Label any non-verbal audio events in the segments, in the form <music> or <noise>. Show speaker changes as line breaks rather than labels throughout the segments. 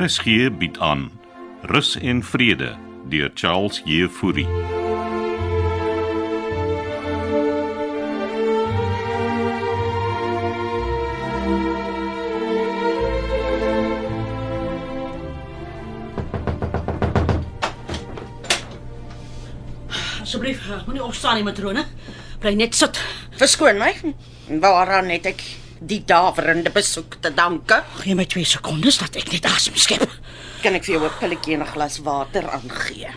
RSG bied aan Rus en Vrede deur Charles Jefouri.
Asseblief, eh, moenie opstaan nie, matrone. Bly net sit.
Verskoon my. Waaraan het ek die daverende besoek te danke?
Gee my 2 sekondes dat ek net asem skep.
Kan ek vir jou 'n pilletjie en 'n glas water aangee?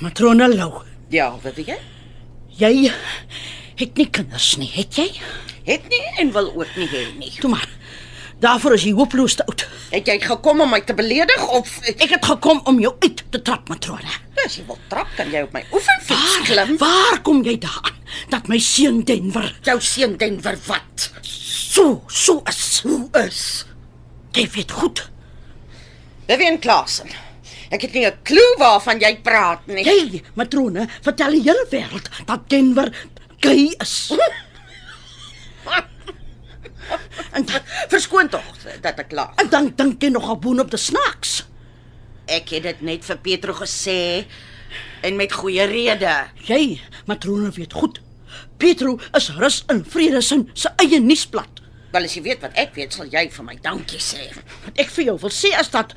Matrone Lou,
Ja, wat weet jy?
jy het nie kinders nie, het jy?
Het nie en wil ook nie hê nie.
Toe maar. Daarvoor is jy hopeloos te oud.
Het jy gekom om my te beledig of ek
Ek het gekom om jou uit te trap, matrone.
as jy wil trap kan jy op my oefenfiets
Waar,
klim?
waar kom jy daaraan dat my seun Denver
Jou seun Denver wat?
so so is?
Hoe is?
Jy weet goed.
Vivian Klasen. Ek het nie 'n klou waarvan jy praat nie.
Jy, matrone, vertel die hele wêreld dat Denver gay is. en
Verskoon tog eh, dat ek lag.
En dan dink jy nogal boonop te snaaks.
Ek het dit net vir Petro gesê en met goeie rede.
Jy, matrone weet goed. Petro is rus in vrede sin se eie nuusblad.
Wel as jy weet wat ek weet, sal jy vir my dankie sê.
Wat ek vir jou wil sê is dat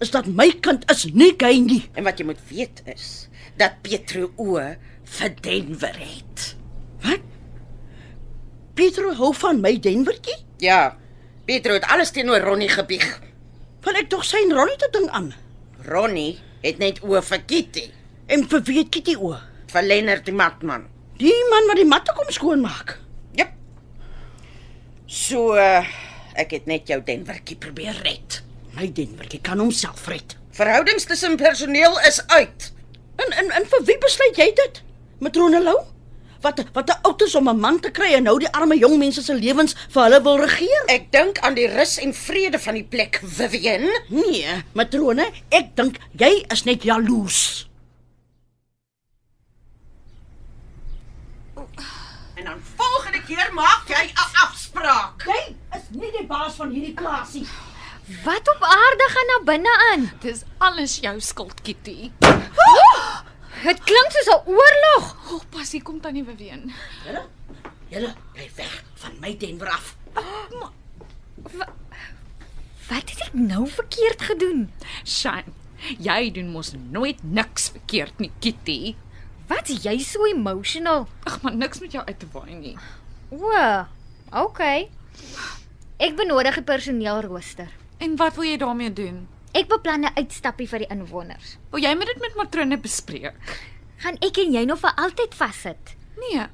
is dat my kind is nie gay nie.
En wat jy moet weet is dat Petro o vir Denver het.
Wat? Petro hou van my Denvertjie?
Ja. Petro het alles teenoor Ronnie gebieg.
Wil ek tog sy rollete ding aan?
Ronnie het net o vir Kitty,
En vir wie het Kitty o?
vir Lennard die matman.
Die man wat die matte kom skoonmaak.
Jep. So uh, ek het net jou Denverkie probeer red.
My Denvertjie kan homself red.
Verhoudings tussen personeel is uit.
En en en vir wie besluit jy dit? Matrone Lou? Wat wat 'n oud is om 'n man te kry en nou die arme jong mense se lewens vir hulle wil regeer?
Ek dink aan die rus en vrede van die plek, Vivian.
Nee, matrone, ek dink jy is net jaloers.
En dan volgende keer maak jy 'n afspraak.
Jy is nie die baas van hierdie klasie.
Wat op aarde gaan na binne aan?
Dis alles jou skuld, Kitty.
<gasps> Dit klink soos 'n oorlog.
O, pas hier kom tannie Beween.
Julle, julle bly weg van my Denver af.
Wat het ek nou verkeerd gedoen?
Shan, jy doen mos nooit niks verkeerd nie, Kitty.
Wat is jy so emotional?
Ag, maar niks met jou uit te waai nie.
O, okay. Ek benodig 'n personeelrooster.
En wat wil jy daarmee doen?
Ek beplan 'n uitstappie vir die inwoners.
Wil jy met dit met matrone bespreek?
Gaan ek en jy nou vir altyd vassit?
Nee.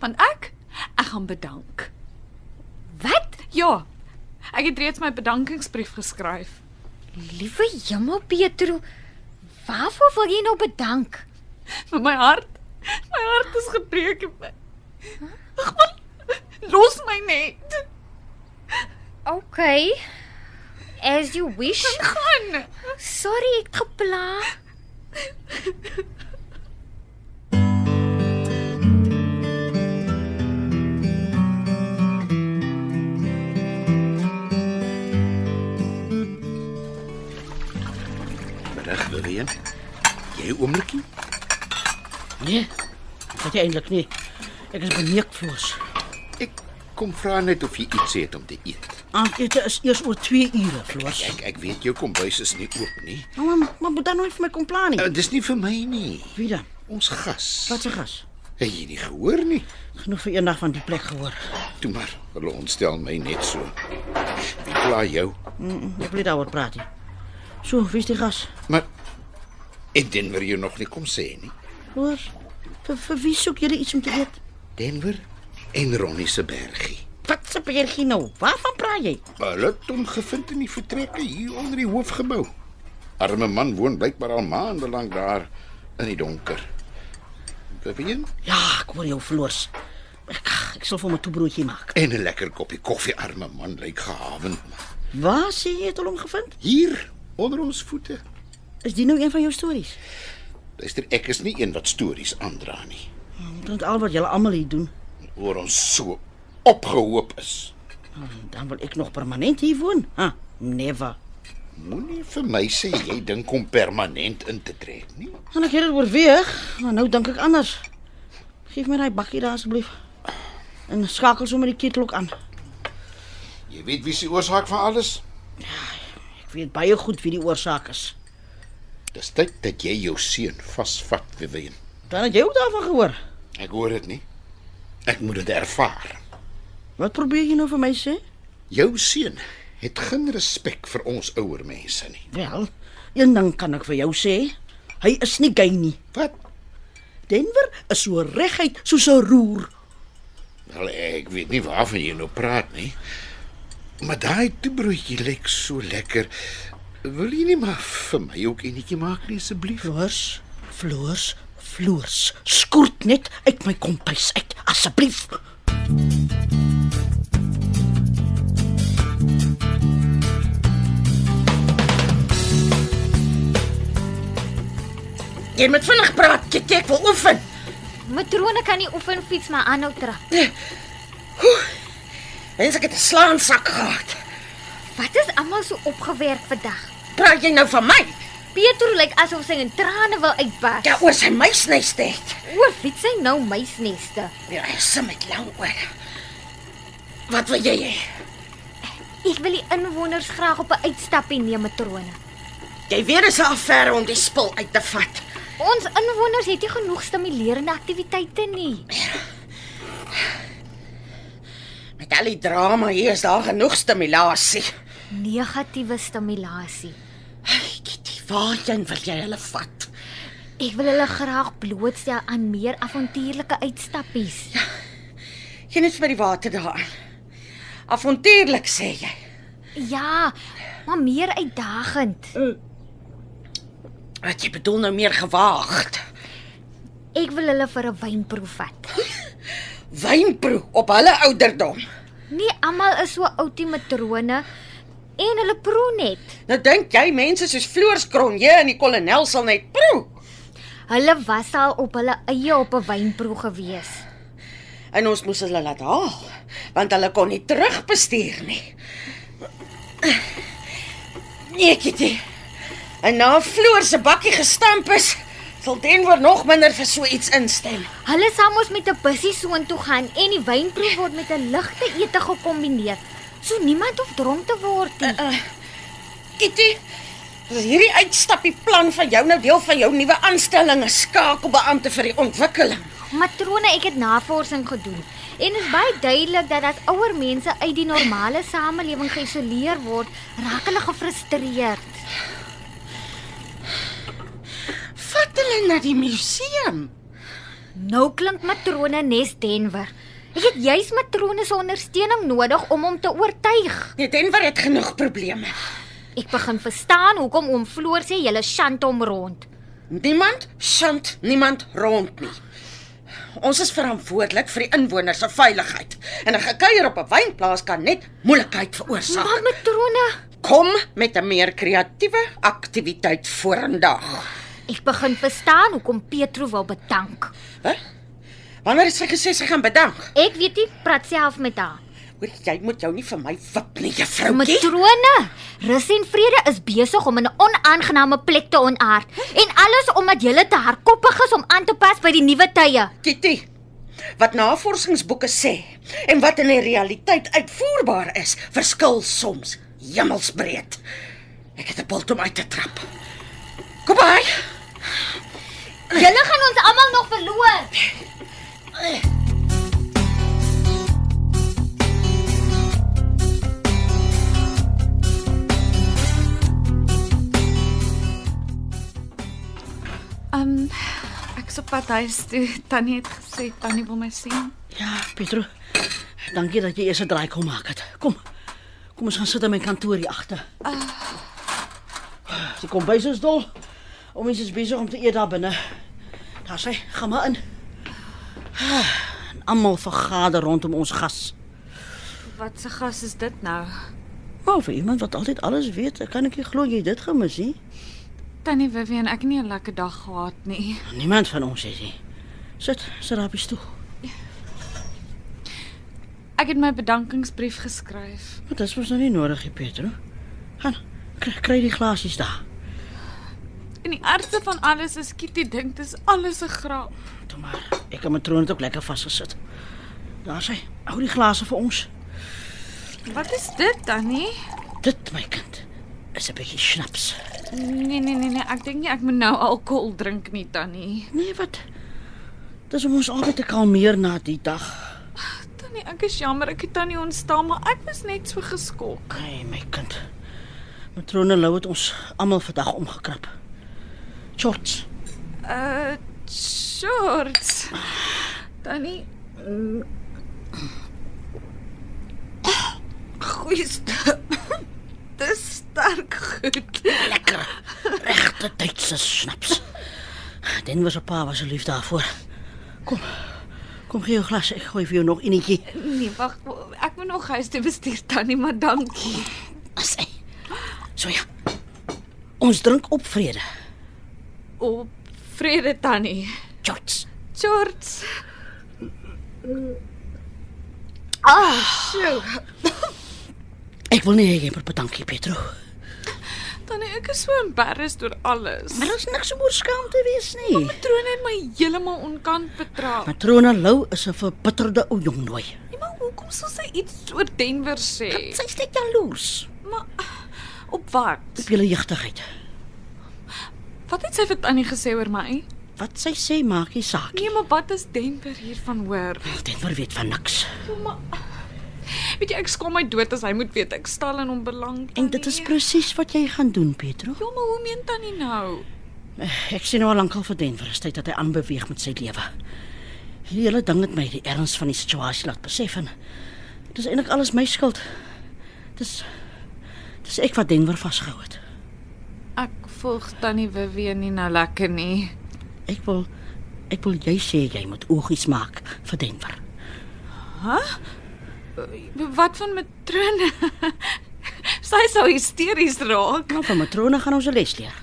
Want ek ek gaan bedank.
Wat?
Ja. Ek het reeds my bedankingsbrief geskryf.
Liewe Hemel Petro, waarvoor wil jy nou bedank?
Vir my hart. My hart is gebreek. Ag man, los my net.
Okay. As you wish.
Gaan.
Sorry, ek het gepla.
Middag, William. Jy oomlikie?
Nee. Dit eintlik nie. Ek is beneek floors.
Ek kom vra net of jy iets het om te eet.
Aandete is eers oor 2 ure floors.
Ek ek weet jou kombuis is nie oop nie.
Maar maar moet dan nooit vir my kom pla nie.
Uh, dis nie vir my nie.
Wie dan?
Ons gas.
Wat se gas?
Het jy nie gehoor nie?
Genoeg vir eendag van die plek gehoor.
Toe maar, hulle ontstel my net so. Wie pla jou?
Ek wil daaroor praat. nie. So, wie's die gas?
Maar en Denver jou nog nie kom sê nie.
Hoor. Vir, vir wie soek julle iets om te eet?
Denver en Ronnie se bergie.
Wat se bergie nou? Waarvan praat jy?
Hulle het hom gevind in die vertrekke hier onder die hoofgebou. Arme man woon blykbaar al maande lank daar in die donker. Bevien
Ja, ek hoor jou floors. Ek, ek sal vir my toebroodjie maak.
en 'n lekker koppie koffie arme man lyk gehavend. man.
Waar sê jy het hom gevind?
Hier onder ons voete.
Is dit nou een van jou stories?
Luister, ek is nie een wat stories aandra nie.
Dit al wat julle almal hier doen.
Oor ons so opgehoop is.
Dan wil ek nog permanent hier woon. Ha, never.
Moenie vir my sê jy dink om permanent in te trek nie.
En ek het dit oorweeg, maar nou dink ek anders. Geef my daai bakkie daar asseblief. En skakel sommer die ketel ook aan.
Jy weet wie se oorsaak van alles?
Ek weet baie goed wie die oorsaak is.
Dis tyd dat jy jou seun vasvat, Vivian.
Dan het jy ook daarvan gehoor.
Ek hoor dit nie. Ek moet dit ervaar.
Wat probeer jy nou vir my sê?
Jou seun het geen respek vir ons ouer mense nie.
Wel, een ding kan ek vir jou sê. Hy is nie gay nie.
Wat?
Denver is so reguit soos 'n roer.
Wel, ek weet nie waarvan jy nou praat nie. Maar daai toebroodjie lyk so lekker. Wil jy nie maar vir my ook enetjie maak nie asseblief?
Floors, floors, floors. Skoort net uit my kombuis uit, asseblief.
Jy moet vinnig praat, Kitty, ek wil oefen.
Matrone kan nie oefen fiets maar aanhou trap.
Mens ek het 'n slaansak gehad.
Wat is almal so opgewerk vandag?
Praat jy nou van my?
Pietro lyk asof sy in trane wil uitbars.
Ja, oor sy meisneste het.
Oor fiets hy nou muisneste.
Ja, hy sim met lang ore. Wat wil jy hê?
Ek wil die inwoners graag op 'n uitstappie neem, matrone.
Jy weet dis 'n affære om die spul uit te vat.
Ons inwoners het nie genoeg stimulerende aktiwiteite nie.
Met al die drama hier is daar genoeg stimulasie.
Negatiewe stimulasie.
Ai, Kitty, waarheen wil jy hulle vat?
Ek wil hulle graag blootstel aan meer avontuurlike uitstappies.
Geen net vir die water daar. Avontuurlik sê jy.
Ja, maar meer uitdagend.
Wat jy bedoel nou meer gewaagd.
Ek wil hulle vir 'n wynproef vat.
Wynproe op hulle ouderdom.
Nie almal is so oudie matrone en hulle proe net.
Nou dink jy mense soos Floors Kronje en die kolonel sal net proe.
Hulle was al op hulle eie op 'n wynproe gewees.
En ons moes hulle laat haal want hulle kon nie terugbestuur nie. Nee, Kitty. En na Floor se bakkie gestamp is, sal Denver nog minder vir so iets instem.
Hulle sal mos met 'n bussie soontoe gaan en die wynproef word met 'n ligte ete gekombineer. So niemand hoef dronk te word nie.
Kitty, is hierdie uitstappie plan van jou nou deel van jou nuwe aanstelling as skakelbeampte vir die ontwikkeling?
Matrone, ek het navorsing gedoen en dit is baie duidelik dat as ouer mense uit die normale samelewing geïsoleer word, raak hulle gefrustreerd.
Vat hulle na die museum.
Nou klink matrone Nes Denver. Ek het juis matrone se ondersteuning nodig om hom te oortuig.
Nee, Denver het genoeg probleme.
Ek begin verstaan hoekom oom Floor sê julle shant hom rond.
Niemand sand niemand rond nie. Ons is verantwoordelik vir die inwoners se veiligheid en 'n gekuier op 'n wynplaas kan net moeilikheid
Maar
veroorsaak.
matrone,
Kom met 'n meer kreatiewe aktiwiteit vorendag.
ek begin verstaan hoekom Petro wil bedank.
Hè? Wanneer het sy gesê sy gaan bedank?
Ek weet nie, praat self met haar.
Hoor jy moet jou nie vir my wip nie, juffroukie.
Matrone, rus en vrede is besig om in 'n onaangename plek te ontaard en alles omdat julle te hardkoppig is om aan te pas by die nuwe tye.
Kitty. Wat navorsingsboeke sê en wat in die realiteit uitvoerbaar is, verskil soms hemelsbreed. Ek het 'n bult om uit te trap. Kom by.
Julle gaan ons almal nog verloor.
Ehm um, ek's op pad huis toe. Tannie het gesê tannie wil my sien.
Ja, Pietro. Dankie dat jy eers 'n draai kom maak het. Kom. Kom ons gaan sit in my kantoor hier agter. Sy kom by ons dol. Om ons is besig om te eet daar binne. Daar sy, gaan maar in. Ah, En Almal vergader rondom ons gas.
Wat se gas is dit nou?
Maar vir iemand wat altyd alles weet, kan ek nie glo jy het dit gemis nie.
Tannie Vivian, ek het nie 'n lekker dag gehad nie.
Niemand van ons het nie. Sit, sit daar op die stoel.
Ek het my bedankingsbrief geskryf.
Maar dit was nou nie nodig, nie, Pietro. Gaan, Kry, kry die glasies daar.
En die ergste van alles is Kitty dink dis alles 'n grap.
Toe maar. Ek en matroon het ook lekker vasgesit. Daar sy. Hou die glase vir ons.
Wat is dit dan nie?
Dit my kind is 'n bietjie snaps.
Nee nee nee nee, ek dink nie ek moet nou alkohol drink nie tannie.
Nee, wat? Dis om ons albei te kalmeer na die dag.
Tannie, ek is jammer ek het tannie ontstaan, maar ek was net so geskok.
Ai, my kind. Matrone Lou het ons almal vandag omgekrap. Shorts.
Uh, shorts. Tannie. mm. Goeie stap. <laughs> Dis sterk goed.
Lekker. Regte tydse snaps. Den was 'n pa was lief daarvoor. Kom. Kom gee jou glas. Ek gooi vir jou nog enetjie.
Nee, wag, ek moet nog huis toe bestuur tannie, maar dankie.
As hy. So ja. Ons drink op vrede.
Op vrede tannie.
Shorts.
Shorts.
Ek wil nie hê jy moet bedankie Petro.
Tannie, ek is so embarrassed oor alles.
Maar ons niks om oor skaam te wees nie.
Patroon het my heeltemal onkant betrap.
Matrone Lou is 'n verbitterde ou jong nooi.
Nee, maar hoekom sou sy iets oor Denver sê?
Sy's net jaloers
Maar op wat?
op julle jeugtigheid.
Wat het sy vir Tannie gesê oor my?
Wat sy sê maak nie saak.
Nee, maar wat is Denver hiervan hoor?
Denver weet van niks.
Ja, maar Weet jy ek skom my dood as hy moet weet ek stel in hom belang.
En dit is
Tannie.
presies wat jy gaan doen, Petro.
Ja, maar hoe meen Tannie nou?
Ek sien nou al lankal vir Denver, is tyd dat hy aanbeweeg met sy lewe. Die hele ding het my die erns van die situasie laat besef en dis eintlik alles my skuld. Dis dis ek wat Denver vasgehou het.
Ek volg Tannie Vivian nie nou lekker nie.
Ek wil ek wil jy sê jy moet oogies maak vir Denver.
Wat van matrone? <laughs> sy sou hysteries raak.
Nou van matrone gaan ons 'n les leer.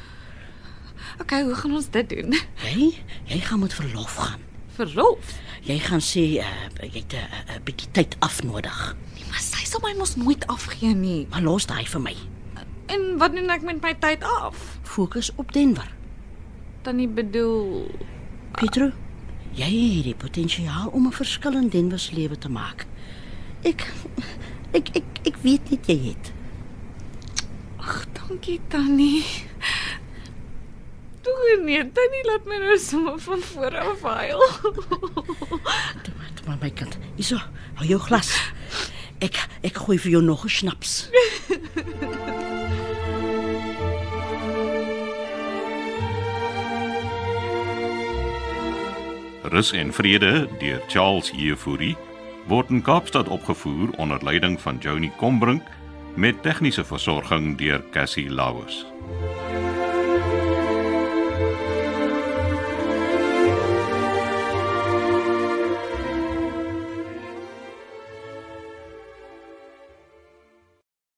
Okay, hoe gaan ons dit doen?
Jy jy gaan met verlof gaan.
Verlof.
Jy gaan sê uh, jy het 'n uh, uh, bietjie tyd afnodig.
Maar sy sal my mos nooit afgee nie.
Maar los daai vir my.
En wat doen ek met my tyd af?
Fokus op Denver.
Tannie bedoel,
Pietro, jy het die potensiaal om 'n verskil in Denver se lewe te maak. Ek ek ek ek weet net jy het.
ag, dankie Tannie. Toe nee, Tannie laat my nou sommer van voor af huil.
Toe maar, toe maar my kind. Hierso, hou jou glas. Ek ek gooi vir jou nog 'n snaps.
Rus en Vrede deur Charles Jefouri word in Kaapstad opgevoer onder leiding van Johnny Combrink met tegniese versorging deur Cassie Lauers.